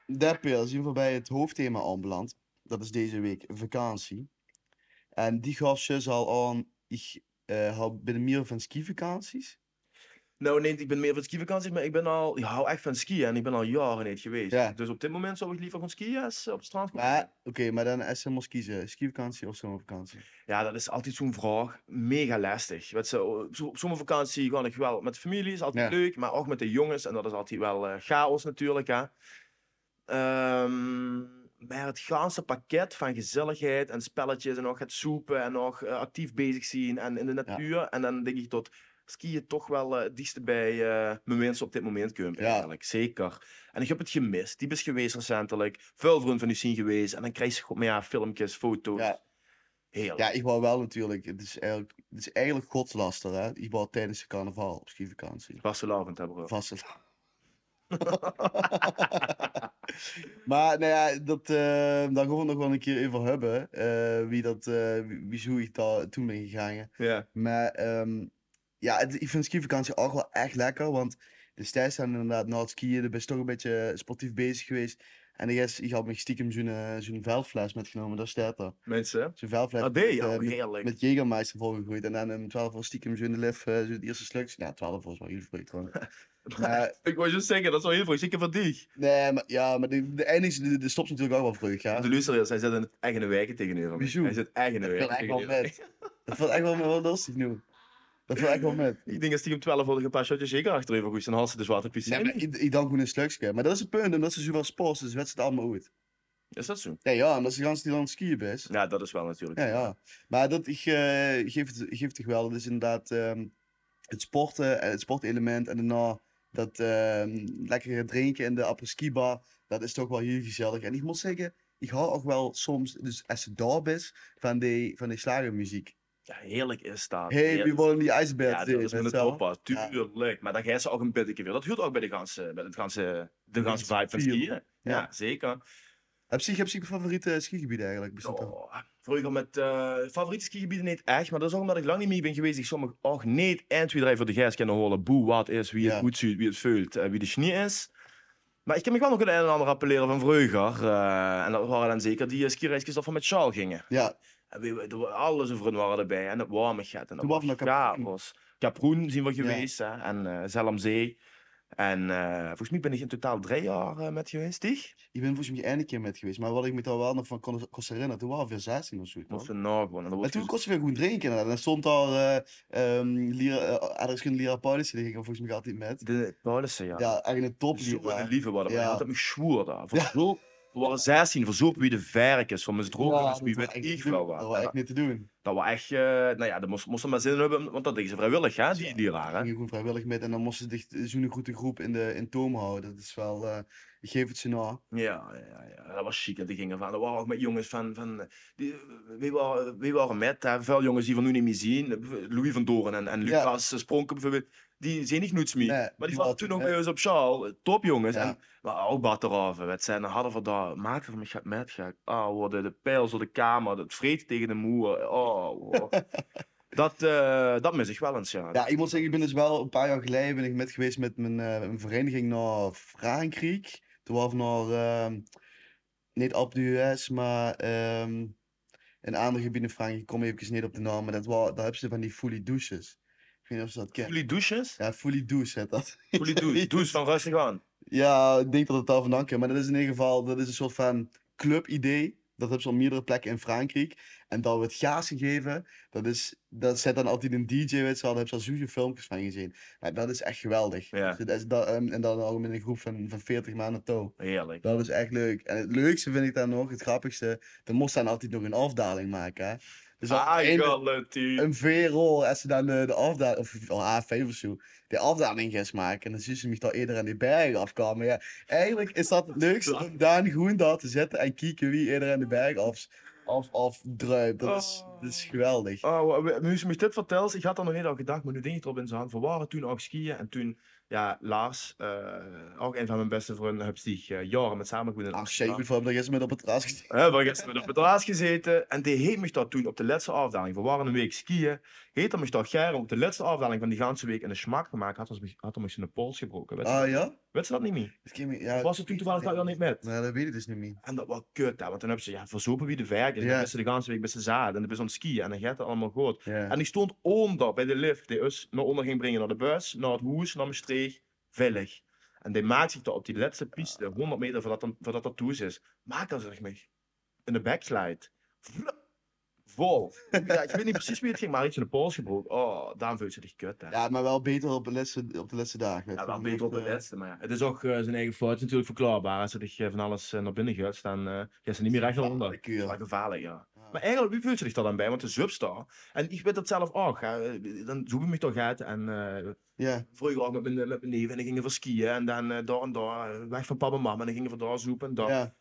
Daarbij zien we bij het hoofdthema aanbeland. Dat is deze week vakantie. En die gaf ze dus al aan, ik eh hou binnen meer van skivakanties. Nou, nee, ik ben meer van skivakanties, maar ik ben al, ik hou echt van skiën en ik ben al jaren niet geweest. Ja. Dus op dit moment zou ik liever gewoon skiën als eh, op het strand gaan. Maar, oké, maar dan is ze moest kiezen, skivakantie of zomervakantie. Ja, dat is altijd zo'n vraag. Mega lastig. Weet je, op zo- op zomervakantie ga ik wel met de familie, is altijd Ja. leuk, maar ook met de jongens en dat is altijd wel eh, chaos natuurlijk. Hè. Ehm, maar het ganse pakket van gezelligheid en spelletjes en nog het soepen en nog eh, actief bezig zien en in de natuur. En dan denk ik tot skiën toch wel eh, het dichtste bij eh, mijn wensen op dit moment kunnen. Ja. Eigenlijk, zeker. En ik heb het gemist. Die is geweest recentelijk. Veel vrienden van u zien geweest. En dan krijg je gewoon ja, filmpjes, foto's. Ja. Heerlijk. Ja, ik wou wel natuurlijk. Het is eigenlijk, het is eigenlijk godslaster, hè? Ik wou tijdens de carnaval op skivakantie. Vastelavond, hè, bro. Vast. [LAUGHS] maar nou ja, dat, eh, daar gaan we nog wel een keer over hebben. eh, wie dat, eh, wie, wie zo ik daar toen ben gegaan. Ja. Maar ehm, ja, het- ik vind skivakantie ook wel echt lekker. Want destijds zijn we inderdaad na het skiën, daar ben je toch een beetje eh, sportief bezig geweest. En de rest, ik had me stiekem zo'n eh, zo'n vuilfles metgenomen, daar staat er. Mensen. Zo'n vuilfles AD, met, eh, oh, met- heerlijk. [LAUGHS] met Jägermeister volgegooid. En dan om 12 uur stiekem zo in de lef, eh, zo het eerste slukje. Nou, 12 uur is wel heel vroeg trouwens. [LAUGHS] Maar, Ik wou juist zeggen, dat is wel heel veel. Zeker van die. nee, maar, ja, maar de, de eindigs, de, de stopt natuurlijk ook wel vroeg, ja. De luisteraars, hij zit in het eigen wijken tegenover me. Bijzoe. Hij zit eigen Dat wijken viel echt wel tegenover me. met. Dat valt echt wel wel lastig nu. Dat valt echt wel [LAUGHS] met. Ik denk dat die om 12 hadden een paar shotjes zeker achterover goed zijn. Hartstikke zwarte Ja, maar piscine. ik, ik dank gewoon een slukje. Maar dat is het punt, omdat ze zoveel sports, dus wedst het allemaal uit. Is dat zo? Nee, ja, omdat ze gans die dan skiën best. Ja, dat is wel natuurlijk. Ja, ja. Maar dat ik, eh, geef, het, geef het toch wel. Dat is inderdaad ehm, het sporten, eh, het sportelement en daarna dat ehm lekkere drinken in de après bar. Dat is toch wel heel gezellig. En ik moet zeggen, ik hou ook wel soms, dus als ze daar bent, van die, van die slagermuziek. Ja, heerlijk is dat. Hey, Heerlijk. we worden die ijsbed. Ja, dat is met het opa, Ja. tuurlijk. Maar dan ga je ze ook een beetje weer. Dat huurt ook bij de ganse, bij het ganse, de ganse ganse vibe van feel. skiën. Ja, Ja. zeker. Heb je, heb je een favoriete skigebied eigenlijk? Bestaat er? Oh, vroeger met eh, favoriete skigebieden niet echt, maar dat is ook omdat ik lang niet meer ben geweest. Ik oh, sommige ook niet en twee drie voor de gijs kunnen horen. Boe, wat is, wie het Ja. goed ziet, wie het voelt, eh, wie de snie is. Maar ik kan me wel nog het een en ander appelleren van vroeger. eh, en dat waren dan zeker die uh, skireisjes dat we met Charles gingen. Ja, En we- we- er- alles over hun waren erbij. En het warme gaat. En dat Toen was nog Kaproen. chaos. Kaproen zijn we Ja. geweest. Hè? En eh Zelmzee. En eh, volgens mij ben ik in totaal drie jaar eh, met geweest. Die? ik ben volgens mij één keer met geweest. Maar wat ik me daar wel nog van kon, kon herinneren, toen waren we 16 of zo. toch? Moesten nagaan. En dat Maar wordt toen toen... kon ze weer goed drinken. En dan stond daar eh ehm Lira, eh, Aderskin Lira Paulus, die ging er volgens mij altijd met. de Paulussen, ja. Ja, eigenlijk een top Zo een Lira. lieve waren. Ja. Ja. Dat heb ik zwoer daar. Voor zo- We waren 16, voor zo op wie de verk is, van misdrogen, Ja, ja, wie was weet echt niet ik te wel doen. Dat wat. was echt En niet te doen. Dat was echt, eh, nou ja, dat moest- moesten maar zin hebben, want dat deden ze vrijwillig, hè, die, die Daar rare. ging je gewoon vrijwillig met en dan moesten ze dicht- zo'n goede groep in, de, in toom houden. Dat is wel, eh, ik geef het ze na. Ja, ja, ja, dat was chic. hè, Die gingen van, er waren ook met jongens van, van eh, die, wie, waren, wie waren met, hè, veel jongens die we nu niet meer zien. Eh, Louis van Doren en, en Ja. Lucas eh, Spronken bijvoorbeeld, die zien ik niets meer. Nee, maar die die waren waren toen nog toen net- bij ons op Sjaal. Eh, Top jongens. Ja. En, maar ook Bart erover, het zijn, dan hadden we daar, maakten van me gaat met, ga ik, oh, worden de pijl door de kamer, het vreet tegen de moer, oh, [LAUGHS] wow. dat, eh, dat mis ik wel eens, ja. Ja, ik moet zeggen, ik ben dus wel een paar jaar geleden ben ik met geweest met mijn, eh, mijn vereniging naar Frankrijk. Toen was naar, ehm, niet op de US, maar ehm een ander gebied in Frankrijk. Ik kom even niet op de naam, maar dat was, daar hebben ze van die fully douches. Ik weet niet of ze dat kennen. Jullie douches? Ja, fully douche heet dat. Jullie [LAUGHS] douche, douche van rustig aan. Ja, ik denk dat het daar vandaan komt. Maar dat is in ieder geval, dat is een soort van club-idee. Dat hebben ze op meerdere plekken in Frankrijk. En dat wordt gaas gegeven. Dat is, dat zet dan altijd een DJ, weet je wel. Daar heb je al zoveel filmpjes van gezien. Maar dat is echt geweldig. Ja. Dus dat is dat, ehm, en dan ook met een groep van, van 40 maanden touw. Heerlijk. Dat is echt leuk. En het leukste vind ik dan nog, het grappigste. Dan moest dan altijd nog een afdaling maken, hè. Dus dan Ah, één- Galantine. een V-roll als ze dan eh, de, de afdaling, of oh, AFV of zo, de afdaling gaan maken. En dan zien ze mij daar eerder aan die berg afkomen. Ja, eigenlijk is dat het leukste om Daan Groen daar te zetten en kijken wie eerder aan de berg af, af, afdruipt. Dat is, dat is geweldig. Oh, we- nu ze me dit vertelt, ik had dat nog niet al gedacht, maar nu denk ik erop in zijn hand. We waren toen ook skiën en toen, ja, Lars, eh, ook een van mijn beste vrienden, heb ik eh, jaren met samen gewoond in Ach, Ah, shit, Amsterdam. goed voor hem, dat is met op het terras gezien. Hè, we gisteren met op het raas gezeten en die heeft me dat toen op de laatste afdaling. We waren een week skiën. Heet hem dat Gerren op de laatste afdaling van die ganse week in de smaak gemaakt. Had, ons, had hem eens in de pols gebroken. Weet, Ah ja? weet ze dat niet meer? Dat ken ik- ja Of was het toen toevallig dat je dat niet met? Nee, dat weet ik dus niet meer. En dat was kut, hè, want dan heb ze, ja, verzopen wie de werk is. Ja. Dan ben ze de ganse week bij ze zaden en dan ben ze aan het skiën en dan gaat het allemaal goed. Ja. En ik stond onder bij de lift die ons naar onder ging brengen naar de bus, naar het hoes, naar Maastricht, veilig. En die maakt zich daar op die laatste piste, 100 meter voordat, dan- voordat dat toes is, maakt dat zich mee. In de backslide. Vlup. Vol. Ja, ik weet niet precies wie het ging, maar iets in de pols gebroken. Oh, daarom voelt ze zich kut. Hè. ja, maar wel beter op de laatste, op de laatste dagen. Ja, weet wel je. beter op de Eh, laatste, maar ja. Het is ook eh, zijn eigen fout. Het is natuurlijk verklaarbaar. Als ze zich eh, van alles eh, naar binnen gaat, dan eh gaat ze niet meer recht naar onder. de keur. Dat is wel gevaarlijk, ja. Ja. Maar eigenlijk, wie voelt zich daar dan bij? Want de substar. En ik weet dat zelf ook. hè. Dan zoek ik me toch uit. En eh, Ja, vroeger ook met mijn, met mijn neef. En dan gingen we skiën. En dan eh, daar en daar. eh, Weg van papa en mama. En dan gingen we daar zoeken. En daar. ja.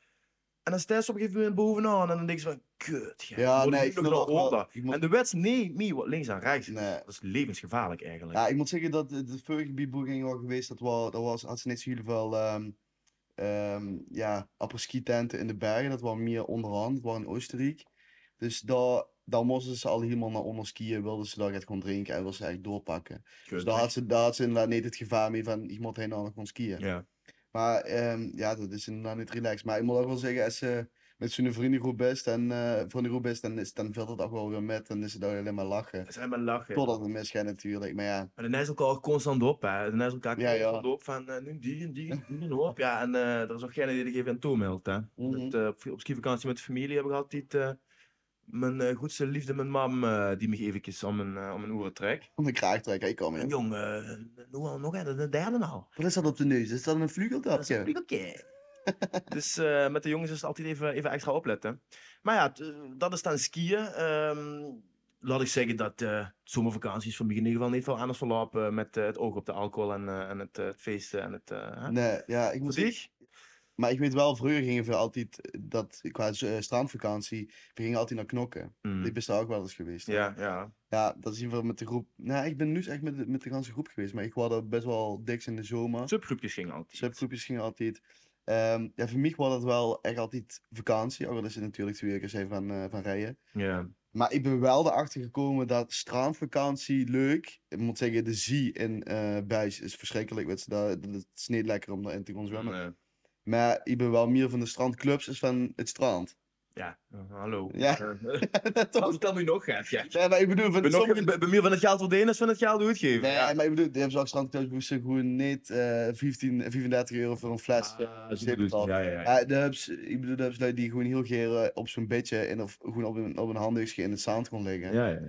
En dan staat ze op een gegeven moment bovenaan en dan denk ze van, kut, gek, Ja, moet nee, nu ik nog vind dat dat wel- horen? ik moet- En de wet nee, nee, wat links en rechts. Nee. Dat is levensgevaarlijk eigenlijk. Ja, ik moet zeggen dat de de vorige beboeking wel geweest, dat, wel, dat was, had ze net zo heel veel ehm ehm ja, ski tenten in de bergen. Dat was meer onderhand, dat was in Oostenrijk. Dus daar, daar moesten ze al helemaal naar onder skiën, wilden ze daar echt gewoon drinken en wilden ze eigenlijk doorpakken. Kut, Dus daar hè? had ze, daar had ze inderdaad niet het gevaar mee van iemand heen aan kon skiën. Ja. Maar ehm, ja, dat is inderdaad niet relaxed. Maar ik moet ook wel zeggen, als ze met zo'n vriendengroep best en eh vriendengroep best, dan, is, dan valt het ook wel weer met. Dan is het ook alleen maar lachen. Dat zijn maar lachen. Totdat het misgaat natuurlijk, maar ja. En dan is elkaar constant op, hè. Dan is elkaar Ja, ja. constant op van, eh, nu die en die en die en op. Ja, en eh, er is ook geen die er geen aan toemeldt, hè. Mhm. Dat, eh, op- op skivakantie met de familie heb ik altijd eh, mijn eh, goedste liefde, mijn mam, eh, die me eventjes aan mijn, eh, aan mijn oren trekt. Om de kraag trekken, ik kan En weer. jong, eh, hoe al nog, hè, de de derde al. Wat is dat op de neus? Is dat een Dat is vlugeltapje? natuurlijk oké. Dus eh, met de jongens is het altijd even, even extra opletten. Maar ja, t- eh, dat is dan skiën. Ehm, laat ik zeggen dat eh zomervakanties voor mij in ieder geval niet veel anders verlopen met eh, het oog op de alcohol en, eh, en het, eh, het feesten en het... eh, hè. Nee, ja, ik Voor moet zich? Maar ik weet wel, vroeger gingen we altijd, eh, dat, qua eh, strandvakantie, we gingen altijd naar knokken. Mm. Ik ben daar ook wel eens geweest. Ja, ja. Hm. Ja, dat is in ieder geval met de groep. Nou, ik ben nu echt met de, met de ganse groep geweest, maar ik was er best wel diks in de zomer. Subgroepjes gingen altijd. Subgroepjes gingen altijd. Ehm, ja, voor mij was dat wel echt altijd vakantie, ook al is het natuurlijk twee weken zijn van, eh, van rijden. Ja. Maar ik ben wel erachter gekomen dat strandvakantie leuk. Ik moet zeggen, de zee in eh Buis is verschrikkelijk. weet je, dat- dat- Het is niet lekker om daarin te gaan zwemmen. Eh, Maar ik ben wel meer van de strandclubs als van het strand. [LAUGHS] ja, eh, hallo. Ja. Eh, wat Toch? vertel me nog, hè? Ja. Nee, maar ik bedoel, van Ben nog sommige... ben- ben meer van het geld verdienen als van het geld uitgeven. Nee, ja. maar ik bedoel, die hebben zo'n strandclubs, moesten gewoon niet eh 15, 35 euro voor een fles. Ah, eh, zo bedoel je. zeepbetaal. ja, ja, ja. Ja, de hubs, ik bedoel, de hubs lui die gewoon heel geren op zo'n bedje en of gewoon op een, op een handdoekje in het zand kon liggen. Ja, Ja,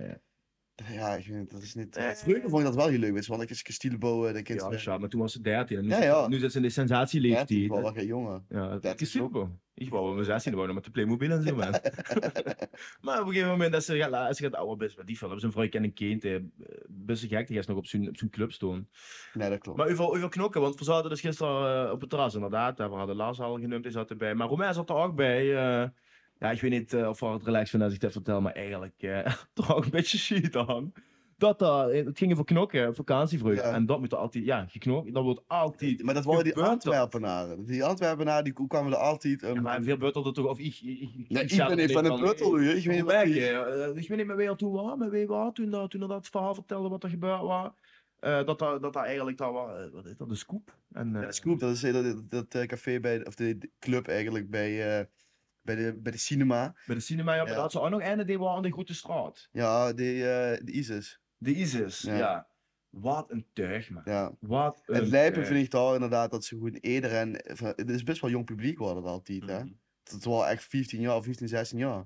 ja, ja. ik weet niet, dat is niet... Nee. Vroeger vond ik dat wel heel leuk, weet je, want ik is Castielebo, de kind Ja, ja, maar toen was ze 13. En nu, Ja, zit- ja. nu zit ze in de sensatieleeftijd. wel geen jongen. Ja, dat, Dat is is ook- super. Ik wou wel mijn 16 wonen met de Playmobil en zo, [LAUGHS] man. maar op een gegeven moment, als ze gaat, als ze gaat ouder best met die film, zijn vrouw en een kind, eh, best een gek, die is nog op zijn, op zijn club staan. Nee, dat klopt. Maar over, over knokken, want we zaten dus gisteren eh, op het terras, inderdaad. hè. We hadden Lars al genoemd, die zat erbij. Maar Romain zat er ook bij. eh. ja, ik weet niet eh, of we het relaxed vinden als ik dat vertel, maar eigenlijk eh [LAUGHS] toch ook een beetje shit aan. Dat, daar- het ging over knokken, vakantievreugde. Ja. En dat moet er altijd, ja, geknokt, dat wordt altijd... maar dat waren die gebeurt dat? Antwerpenaren. Die Antwerpenaren, die kwamen er altijd... Ja, een maar veel beurt er toch of ik... ik, ik, Nee, ik ik zelf ben niet van denk een butteluur. Ik weet niet Ik wat weet, die- eh, ik weet niet meer wie er toen was, maar wie was toen, dat- toen er dat verhaal vertelde wat er gebeurd was. eh, dat, daar- dat daar eigenlijk daar was, eh, wat is dat, de scoop? En, eh, Ja, Scoop, dat is eh, dat, dat eh, café bij, of de de club eigenlijk bij, eh, bij, de, bij de cinema. Bij de cinema, ja, maar Ja. daar had ze ook nog een, die was aan de Grote Straat. Ja, die, eh, de ISIS. De ISIS, dus, ja. Ja. Wat een tuig, man. Ja. Wat een Het lijpen tuig. vind ik daar inderdaad dat ze gewoon eerder en. eh, Het is best wel jong publiek worden dat altijd, hè? Mhm. Dat wel echt 15 jaar, 15, 16 jaar.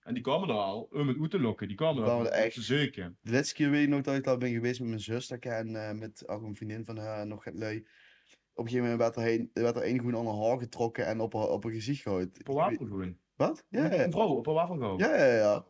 En die kwamen er al, om het uit te lokken. Die kwamen er Die al, om kwamen er het echt. te zeuken. De laatste keer weet ik nog dat ik daar ben geweest met mijn zus, dat ik en eh, met ook een vriendin van haar en nog het lui. Op een gegeven moment werd er, heen, werd er één gewoon aan haar haar getrokken en op haar, op haar gezicht gehouden. Op een wafel gewoon. Wat? Ja, ja, Een Oh. vrouw op een wafel gewoon. ja. ja, ja.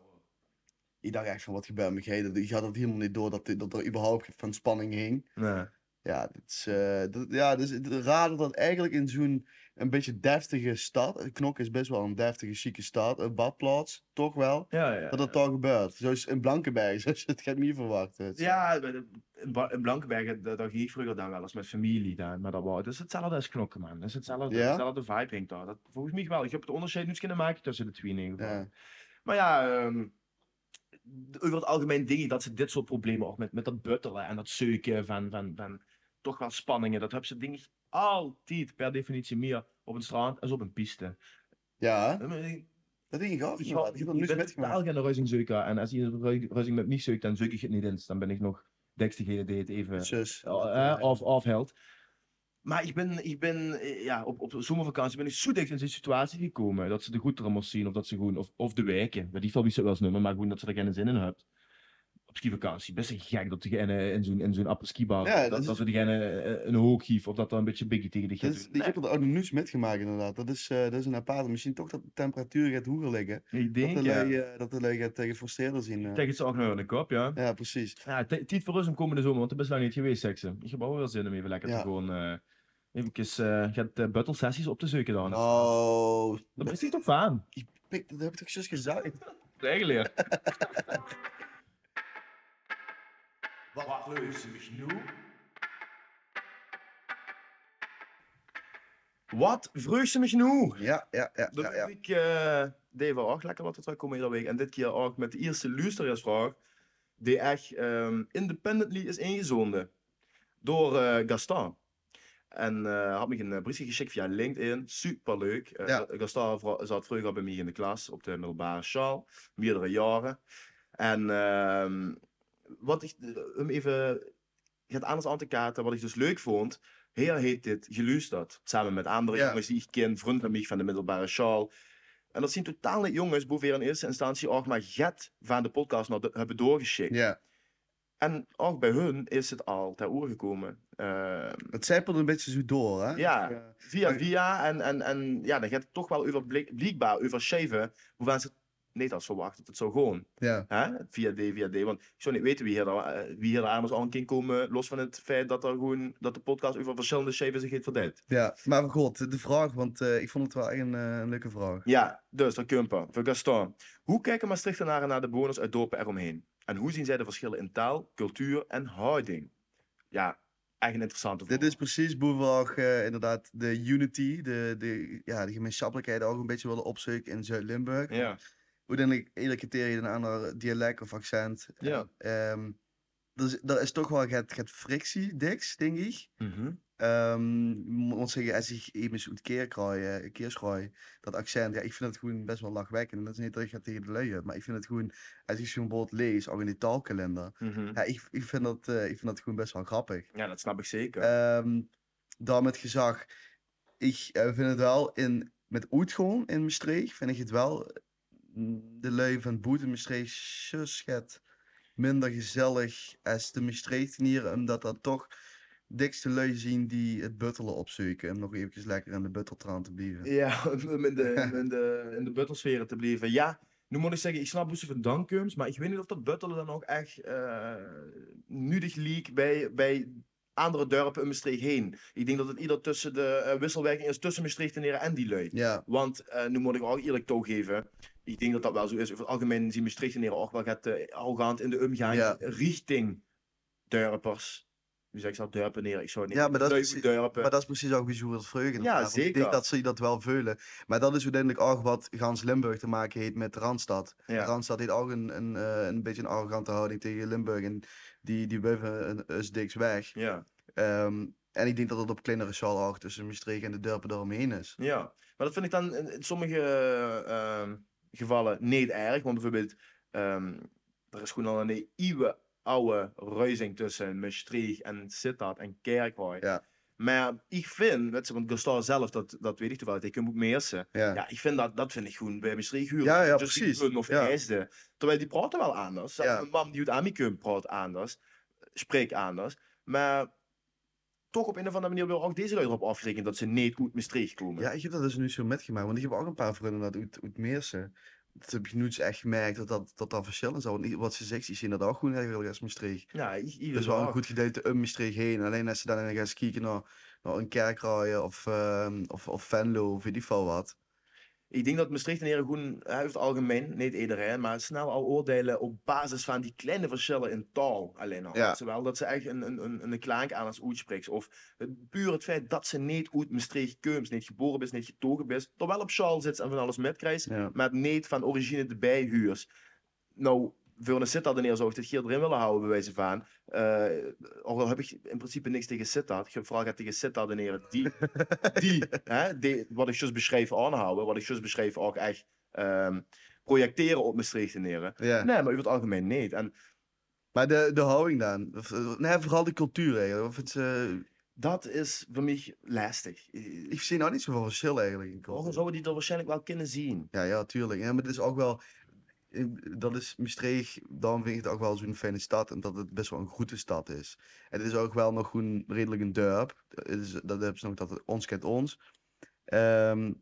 Ik dacht echt van wat gebeurt me? Gij, dat- Ik had dat helemaal niet door dat, dit- dat er überhaupt van spanning hing. Nee. Ja, dat is, eh, dat, ja, dus het raar dat dat eigenlijk in zo'n een beetje deftige stad, Knok is best wel een deftige, chique stad, een badplaats, toch wel, Ja, ja. dat dat daar gebeurt. Zoals in Blankenberg, [LAUGHS] zoals je het gaat niet verwachten. Ja, bij de- in Ba- in Blankenberg, da- daar ging ik vroeger dan wel eens met familie. Daar, maar dat was, het is hetzelfde als knokken, man. Het is hetzelfde, Ja? hetzelfde vibe, denk ik. daar. Dat, volgens mij wel. Ik heb het onderscheid niet kunnen maken tussen de twee in ieder geval. Ja. Maar ja, ehm, d- over het algemeen denk ik dat ze dit soort problemen ook met, met dat buttelen en dat zeuken van, van, van toch wel spanningen. Dat hebben ze denk ik altijd per definitie meer op een strand als op een piste. ja, Ik bedoel, dat ding ik af. Ik ja, heb dat nu eens bent metgemaakt. totaal geen ruizing zeuken. En als je een ru- ruizing met niet zeukt, dan zeuk ik het niet eens. Dan ben ik nog dekst degene die het even Zus. eh, of, of held. Maar ik ben, ik ben eh, ja, op, op zomervakantie ben ik zo dicht in zo'n situatie gekomen. Dat ze de goederen moest zien of dat ze gewoon, of, of de wijken. Bij die film is het wel eens nummer, maar gewoon dat ze er geen zin in hebt. Op skivakantie, best een gek dat diegene in zo'n, in zo'n apple-skibar, Ja, dat, dat dat, is- we diegene eh, een hoog geven of dat dan een beetje biggie tegen de Dat gaat is, doen. ik heb dat ook nog nu eens metgemaakt inderdaad. Dat is, eh, dat is een aparte. Misschien toch dat de temperatuur gaat hoger liggen. Nee, ik Dat denk, de ja. lui, eh, dat de lui gaat eh, gefrustreerder zien. eh. Tegen het ze ook nog in de oh, nou, kop, ja. Ja, precies. Ja, ti- tijd voor ons om komende zomer, want ik ben zo lang niet geweest, seksen. Ik heb ook wel zin om even lekker Ja. te gewoon eh, Even eh, gaat uh, Buttel sessies op te zoeken dan. Oh, Dat is hij toch aan? pik, dat heb ik toch zus gezegd? Eigenlijk. Wat leuk ze dus mich nu? Wat vreugd ze mich nu? Ja, ja, ja, De ja, ja. rubriek eh, deed wel ook lekker wat er terugkomt iedere week. En dit keer ook met de eerste luisteraarsvraag, die echt ehm, independently is ingezonden door eh, Gaston. En eh, had me een eh, briefje geschikt via LinkedIn. Superleuk. Eh, Ja. Gaston vra- zat vroeger bij mij in de klas op de middelbare schaal, meerdere jaren. En ehm, wat ik eh, hem even gaat anders aan te kaarten, wat ik dus leuk vond. Heer heet dit geluisterd. Samen met andere Ja. jongens die ik ken, vrienden van mij van de middelbare schaal. En dat zijn totaal niet jongens, boven in eerste instantie ook maar get van de podcast naar de- hebben doorgeschikt. Ja, En ook bij hun is het al ter oor gekomen. Eh, het zijpelde een beetje zo door, hè? Ja. Dus, eh, via Maar- via en, en, en ja, dan gaat het toch wel overblik- blijkbaar overscheven hoeveel ze niet als verwacht. Dat het zo gewoon. ja, Hè? Via D, via D. Want ik zou niet weten wie hier, daar- eh, wie hier daar anders al een keer komen. Los van het feit dat, er gewoon, dat de podcast over verschillende scheven zich heeft verdeeld. ja. Maar god, de vraag, want eh, ik vond het wel echt een, eh, een leuke vraag. Ja, dus dan Kumper, voor Gaston. Hoe kijken Maastrichtenaren naar de bewoners uit dorpen eromheen? En hoe zien zij de verschillen in taal, cultuur en houding? Ja, echt een interessante vraag. Dit is precies boevenag eh inderdaad de unity, de, de, ja, de gemeenschappelijkheid ook een beetje willen opzoeken in Zuid-Limburg. Ja, Uiteindelijk etiketteer je een ander dialect of accent. Ja. Ehm dus er is toch wel het, het frictie, diks, denk ik. mhm. Ehm want zeggen, als ik even zo'n eh, keerkraai, keerskraai, dat accent, ja, ik vind het gewoon best wel lachwekkend. En dat is niet dat ik het tegen de lui heb, maar ik vind het gewoon, als ik zo'n woord lees, ook in die taalkalender, mhm. ja, ik, ik, vind dat, eh, ik vind dat gewoon best wel grappig. ja, dat snap ik zeker. Ehm dan met gezag. Ik eh, vind het wel in, met Oetgoorn in Maastricht, vind ik het wel eh, de lui van Boet in Maastricht zus het minder gezellig als de Maastrichtenieren, omdat dat toch dikste lui zien die het buttelen opzoeken, om nog eventjes lekker in de butteltraan te blijven. Ja, [LAUGHS] om [LAUGHS] in de, in de, in de buttelsferen te blijven. Ja, nu moet ik zeggen, ik snap Boesten van Dankums, maar ik weet niet of dat buttelen dan ook echt eh nudig leak bij, bij andere dorpen in Maastricht heen. Ik denk dat het ieder tussen de eh, wisselwerking is tussen Maastrichtenaren en die lui. Ja, Want eh, nu moet ik ook eerlijk toegeven. Ik denk dat dat wel zo is. Over het algemeen zien Maastrichtenaren ook wel gaat eh, arrogant in de omgang Ja. richting Durpers. Nu zeg ik zelf Durpeneren, ik zou het niet Ja, maar dat is Leuk, Durpen. maar dat is precies ook bijzonder vreugde. Ja, Ik zeker. denk dat ze dat wel veulen. Maar dat is uiteindelijk ook wat Gans Limburg te maken heeft met Randstad. ja. Randstad heeft ook een, een, eh, een beetje een arrogante houding tegen Limburg. En die, die wuiven een- is diks weg. ja. Ehm, en ik denk dat het op kleinere schaal ook tussen Maastricht en de dorpen eromheen is. Ja, maar dat vind ik dan in, in sommige eh, ehm, gevallen niet erg. Want bijvoorbeeld, ehm, er is gewoon al een eeuwen oude ruizing tussen Maastricht en Sittard en Kerkhooi. Ja. Maar ik vind, weet je, want Gustav zelf, dat, dat weet ik toevallig, ik moet meersen. Ja, Ja, ik vind dat, dat vind ik goed bij Maastricht huren. Ja, ja, Dus die precies. Hun of Ja. IJsden. Terwijl die praten wel anders. Zelfs Ja. Een man die uit Amikum praat anders, spreekt anders. Maar toch op een of andere manier wil ook deze lui erop afrekenen dat ze niet uit Maastricht komen. ja ik heb dat dus nu zo metgemaakt. Want ik heb ook een paar vrienden uit, uit, uit Meersen. Dat heb ik nu dus echt gemerkt dat dat, dat, dat verschil is. Want niet- wat ze zegt, die zien dat ook gewoon eigenlijk als Maastricht. Ja, i- ieder Dus wel een jaar. goed gedeelte om Maastricht heen. Alleen als ze dan gaan kijken naar, naar een kerkraaien of, ehm, of, of Venlo of weet ik veel wat. Ik denk dat Maastricht en Heerengroen, eh, over het algemeen, niet iedereen, maar snel al oordelen op basis van die kleine verschillen in taal alleen al. Ja. Zowel dat ze echt een, een, een, een klank aan als oet spreekt, of het, puur het feit dat ze niet uit Maastricht komt, niet geboren is, niet getogen is, toch wel op sjaal zit en van alles metkrijgt, [LAUGHS] Ja. maar het niet van origine de bijhuurs. Nou, voor een Sittard neer zou ik dit hier erin willen houden, bij wijze van. Eh ook al heb ik in principe niks tegen Sittard. Ik vooral gaat tegen Sittard neer die, die, hè, die, wat ik juist beschreef, aanhouden. Wat ik juist beschreef, ook echt ehm, projecteren op Maastricht neer. Ja. Nee, maar over het algemeen niet. En Maar de, de houding dan? Of, eh, Nee, vooral de cultuur eigenlijk. Of het, eh, dat is voor mij lastig. Eh, ik zie nou niet zoveel verschil eigenlijk in Ook al cultuur. zouden die dat waarschijnlijk wel kunnen zien. Ja, ja, tuurlijk. Ja, maar het is ook wel... eh, Dat is Maastricht, dan vind ik het ook wel zo'n fijne stad. Omdat het best wel een goede stad is. En het is ook wel nog gewoon redelijk een dorp. Het is- Dat hebben ze nog, dat het ons kent ons. Ehm,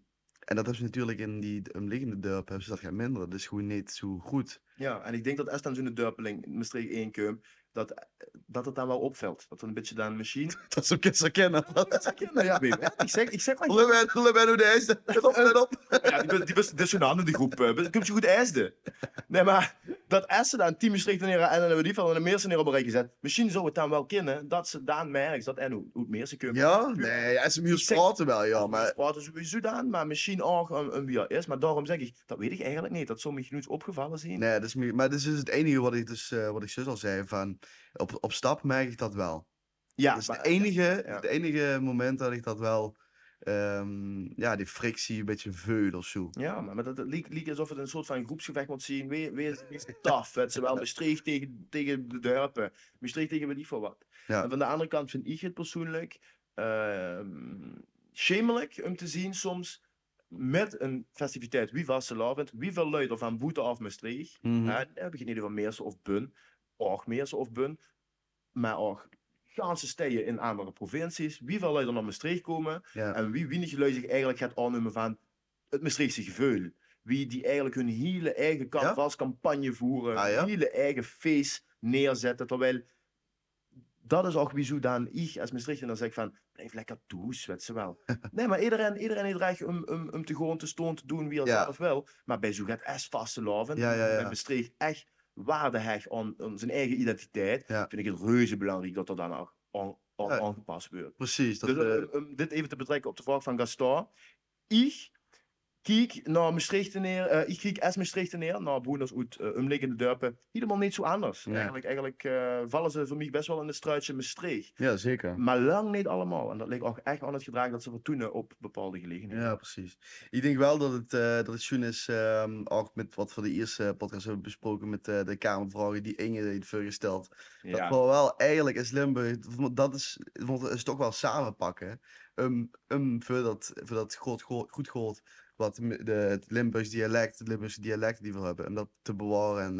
En dat hebben ze natuurlijk in die omliggende dorpen hebben ze dat gaan minderen. Dus gewoon niet zo goed. Ja, en ik denk dat als dan zo'n duipeling, Maastricht 1 Keum, dat, dat het dan wel opvalt. Dat er een beetje dan misschien... [LAUGHS] Dat ze hem kennen. [LAUGHS] nou ja, Wim, hè, ik zeg, ik zeg maar... Lubben, Lubben, hoe de [LAUGHS] is dat? Let op, let op. Ja, die, best- die best dissonant die groep. eh, best- Kun je goed eisden. Nee, maar dat eisen dan team strikt neer en dan hebben die van de meeste neer op een rij gezet. Misschien zou het dan wel kunnen dat ze dan merkt dat en hoe, hoe het meer ze kunnen. Ja, nee, hij is een Ik zeg- praten wel, ja, maar... Praten sowieso dan, maar misschien ook een, een wie er is. Maar daarom zeg ik, dat weet ik eigenlijk niet. Dat sommige genoeg opgevallen zijn. Nee, dat is, meer- maar dat is dus het enige wat ik, dus, eh, wat ik zus al zei, van op, op stap merk ik dat wel. ja, dat is maar- het enige, ja. het enige moment dat ik dat wel, ehm, ja, die frictie een beetje veul of zo. Ja, maar maar dat, dat leek, leek alsof het een soort van groepsgevecht moet zien. Wie, wie is het meest taf? Het is wel Maastricht tegen, tegen de Duipen. Maastricht tegen weet ik voor wat. Ja. En van de andere kant vind ik het persoonlijk ehm shamelijk om te zien soms met een festiviteit. Wie was de lavend? Wie veel luider van Boete af Maastricht? Mhm. Ja, dan heb ik in ieder geval Meersen of Bun. Ook Meersen of Bun. Maar ook ganse steden in andere provincies. Wie veel luider naar Maastricht komen? Ja. En wie weinig lui zich eigenlijk gaat aannemen van het Maastrichtse geveul. Wie die eigenlijk hun hele eigen carnavalscampagne voeren, Ah, ja? hun hele eigen feest neerzetten. Terwijl dat is ook wie zo dan ik als Maastricht en dan zeg ik van blijf lekker toe, zwet ze [LAUGHS] wel. nee, maar iedereen, iedereen heeft recht om, om, om te gewoon te stoon te doen wie er Ja. zelf wel. Maar bij zo gaat S vast te loven. Ja, ja, ja. En Maastricht echt waarde hecht aan, aan zijn eigen identiteit. Ja. Vind ik het reuze belangrijk dat er dan ook aan, aan- Ja. aangepast wordt. Precies, dat, Dus, eh, eh, om dit even te betrekken op de vraag van Gaston. Ik kijk naar Maastricht neer, eh, ik kijk als Maastricht neer, naar Boeners uit uh, omliggende dorpen, helemaal niet zo anders. Nee. Eigenlijk, eigenlijk eh, vallen ze voor mij best wel in het struitje Maastricht. ja, zeker. Maar lang niet allemaal. En dat ligt ook echt aan het gedrag dat ze vertoenen op bepaalde gelegenheden. Ja, precies. Ik denk wel dat het, eh dat het schoon is, ehm, ook met wat we de eerste podcast hebben besproken met eh, de Kamervragen die Inge heeft voorgesteld. Dat we wel eigenlijk is Limburg, dat is, we moeten het toch wel samenpakken. Um, um, voor dat, voor dat goed, goed, goed gehoord wat m- de, het Limburgs dialect, het Limburgse dialect die we hebben. Om dat te bewaren en,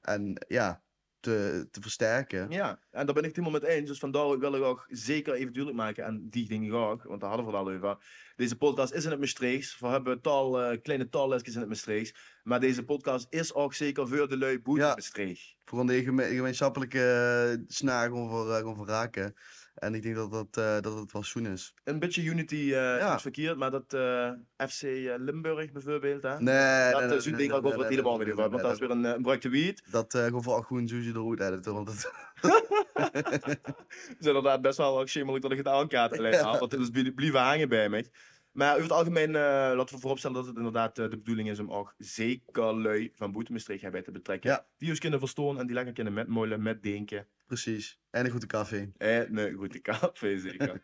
eh, en ja, te, te versterken. Ja, en daar ben ik het helemaal mee eens. Dus vandaar wil ik ook zeker even duidelijk maken. En die dingen ook, want daar hadden we het al over. Deze podcast is in het Maastrichts. We hebben tal, eh, kleine tallesjes in het Maastrichts. Maar deze podcast is ook zeker voor de lui boet Ja. Maastricht. Voor een geme- gemeenschappelijke snaar gewoon voor, eh, gewoon voor raken. En ik denk dat dat, eh, dat het wel schoon is. Een beetje unity eh, is Ja. niet verkeerd, maar dat eh, FC eh, Limburg bijvoorbeeld. Hè? dat Nee, nee, is nee, zo'n nee, ding ook nee, over het nee, helemaal nee, weer. nee, Want dat nee, is weer een, eh, een brokje wiet. Dat eh, gewoon voor al groen zoetje eruit editen, want dat... [LAUGHS] [LAUGHS] Dat is inderdaad best wel ook schimmelijk dat ik het aankaart alleen al, want het is dus blie- blijven hangen bij mij. Maar over het algemeen eh, laten we vooropstellen dat het inderdaad eh, de bedoeling is om ook zeker lui van Boetemestreeg bij te betrekken. Ja. Die ons kunnen verstaan en die lekker kunnen metmoilen, metdenken. Precies. En een goede café. En een goede café [LAUGHS] zeker.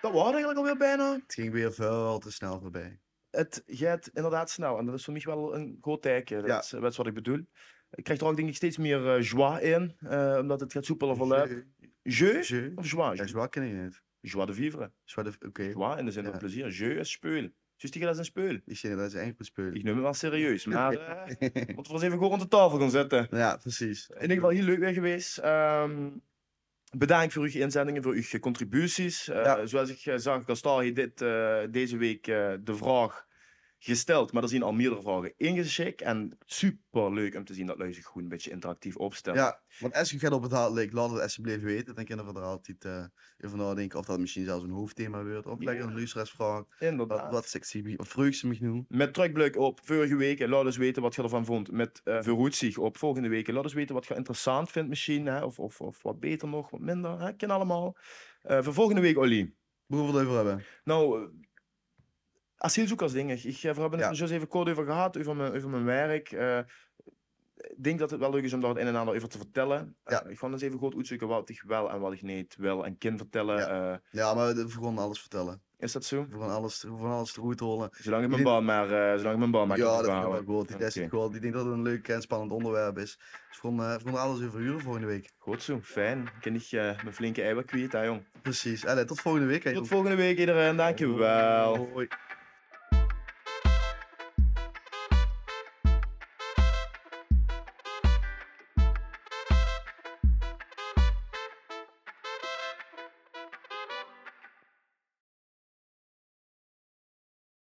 dat was eigenlijk alweer bijna. Het ging weer veel te snel voorbij. het gaat inderdaad snel. En dat is voor mij wel een groot teken. Dat, Ja. is, eh, dat is wat ik bedoel. Ik krijg er ook denk ik steeds meer eh, joie in. eh, omdat het gaat soepeler verloopt. Je? Je? Of joie? Ja, zwak ken ik niet. Joie de vivre. Zwart of... Oké. Joie in de zin Ja. van plezier. Je is speul. Dus die gaat als een speul. Ik zie dat is echt Ik bespeulen. neem het wel serieus. [LAUGHS] Maar eh moeten we eens even gewoon rond de tafel gaan zetten. Nou ja, precies. In ieder geval heel leuk weer geweest. Ehm, bedankt voor uw inzendingen, voor uw eh, contributies. Eh, Ja. Zoals ik eh, zag, Gastal heeft dit, eh, deze week eh, de vraag gesteld. Maar er zijn al meerdere vragen ingeschikt. En super leuk om te zien dat lui zich gewoon een beetje interactief opstellen. Ja, want als je gaat op het hart ligt, laat het alsjeblieft weten. Dan kunnen we er altijd eh even nadenken of dat misschien zelfs een hoofdthema wordt. Of lekker een luisteraarsvraag. Inderdaad. Wat, wat sexy, of vreugd ze me nu? Met terugblik op vorige week. En laat eens weten wat je ervan vond. Met eh verroet zich op volgende week. En Laat eens weten wat je interessant vindt misschien. Hè? Of, of, of wat beter nog, wat minder. Hè? Ken allemaal. Eh, voor volgende week, Olie. Hoe we het over hebben? Nou, eh, asielzoekersding. Ik, ik, eh, we hebben het Ja. er zojuist even kort over gehad, over mijn, over mijn werk. Eh, ik denk dat het wel leuk is om daar het een en ander over te vertellen. Ja. Eh, ik ga eens even goed uitzoeken wat ik wel en wat ik niet wil en kan vertellen. Eh, Ja, maar we we gewoon alles vertellen. is dat zo? We gaan alles, we gaan alles eruit holen. Zolang ik mijn Dit- baan maar, eh, zolang ik mijn baan maar kan ja, dat gaat wel behouden. goed. Die test is Oké. goed. Ik denk dat het een leuk en spannend onderwerp is. Dus we gaan, eh, we gaan er alles over huren volgende week. Goed zo, fijn. Ken ik eh, mijn flinke eiwit kwijt, hè jong. Precies. Allee, tot volgende week. hè, Tot joh. volgende week iedereen, dankjewel. Hoi.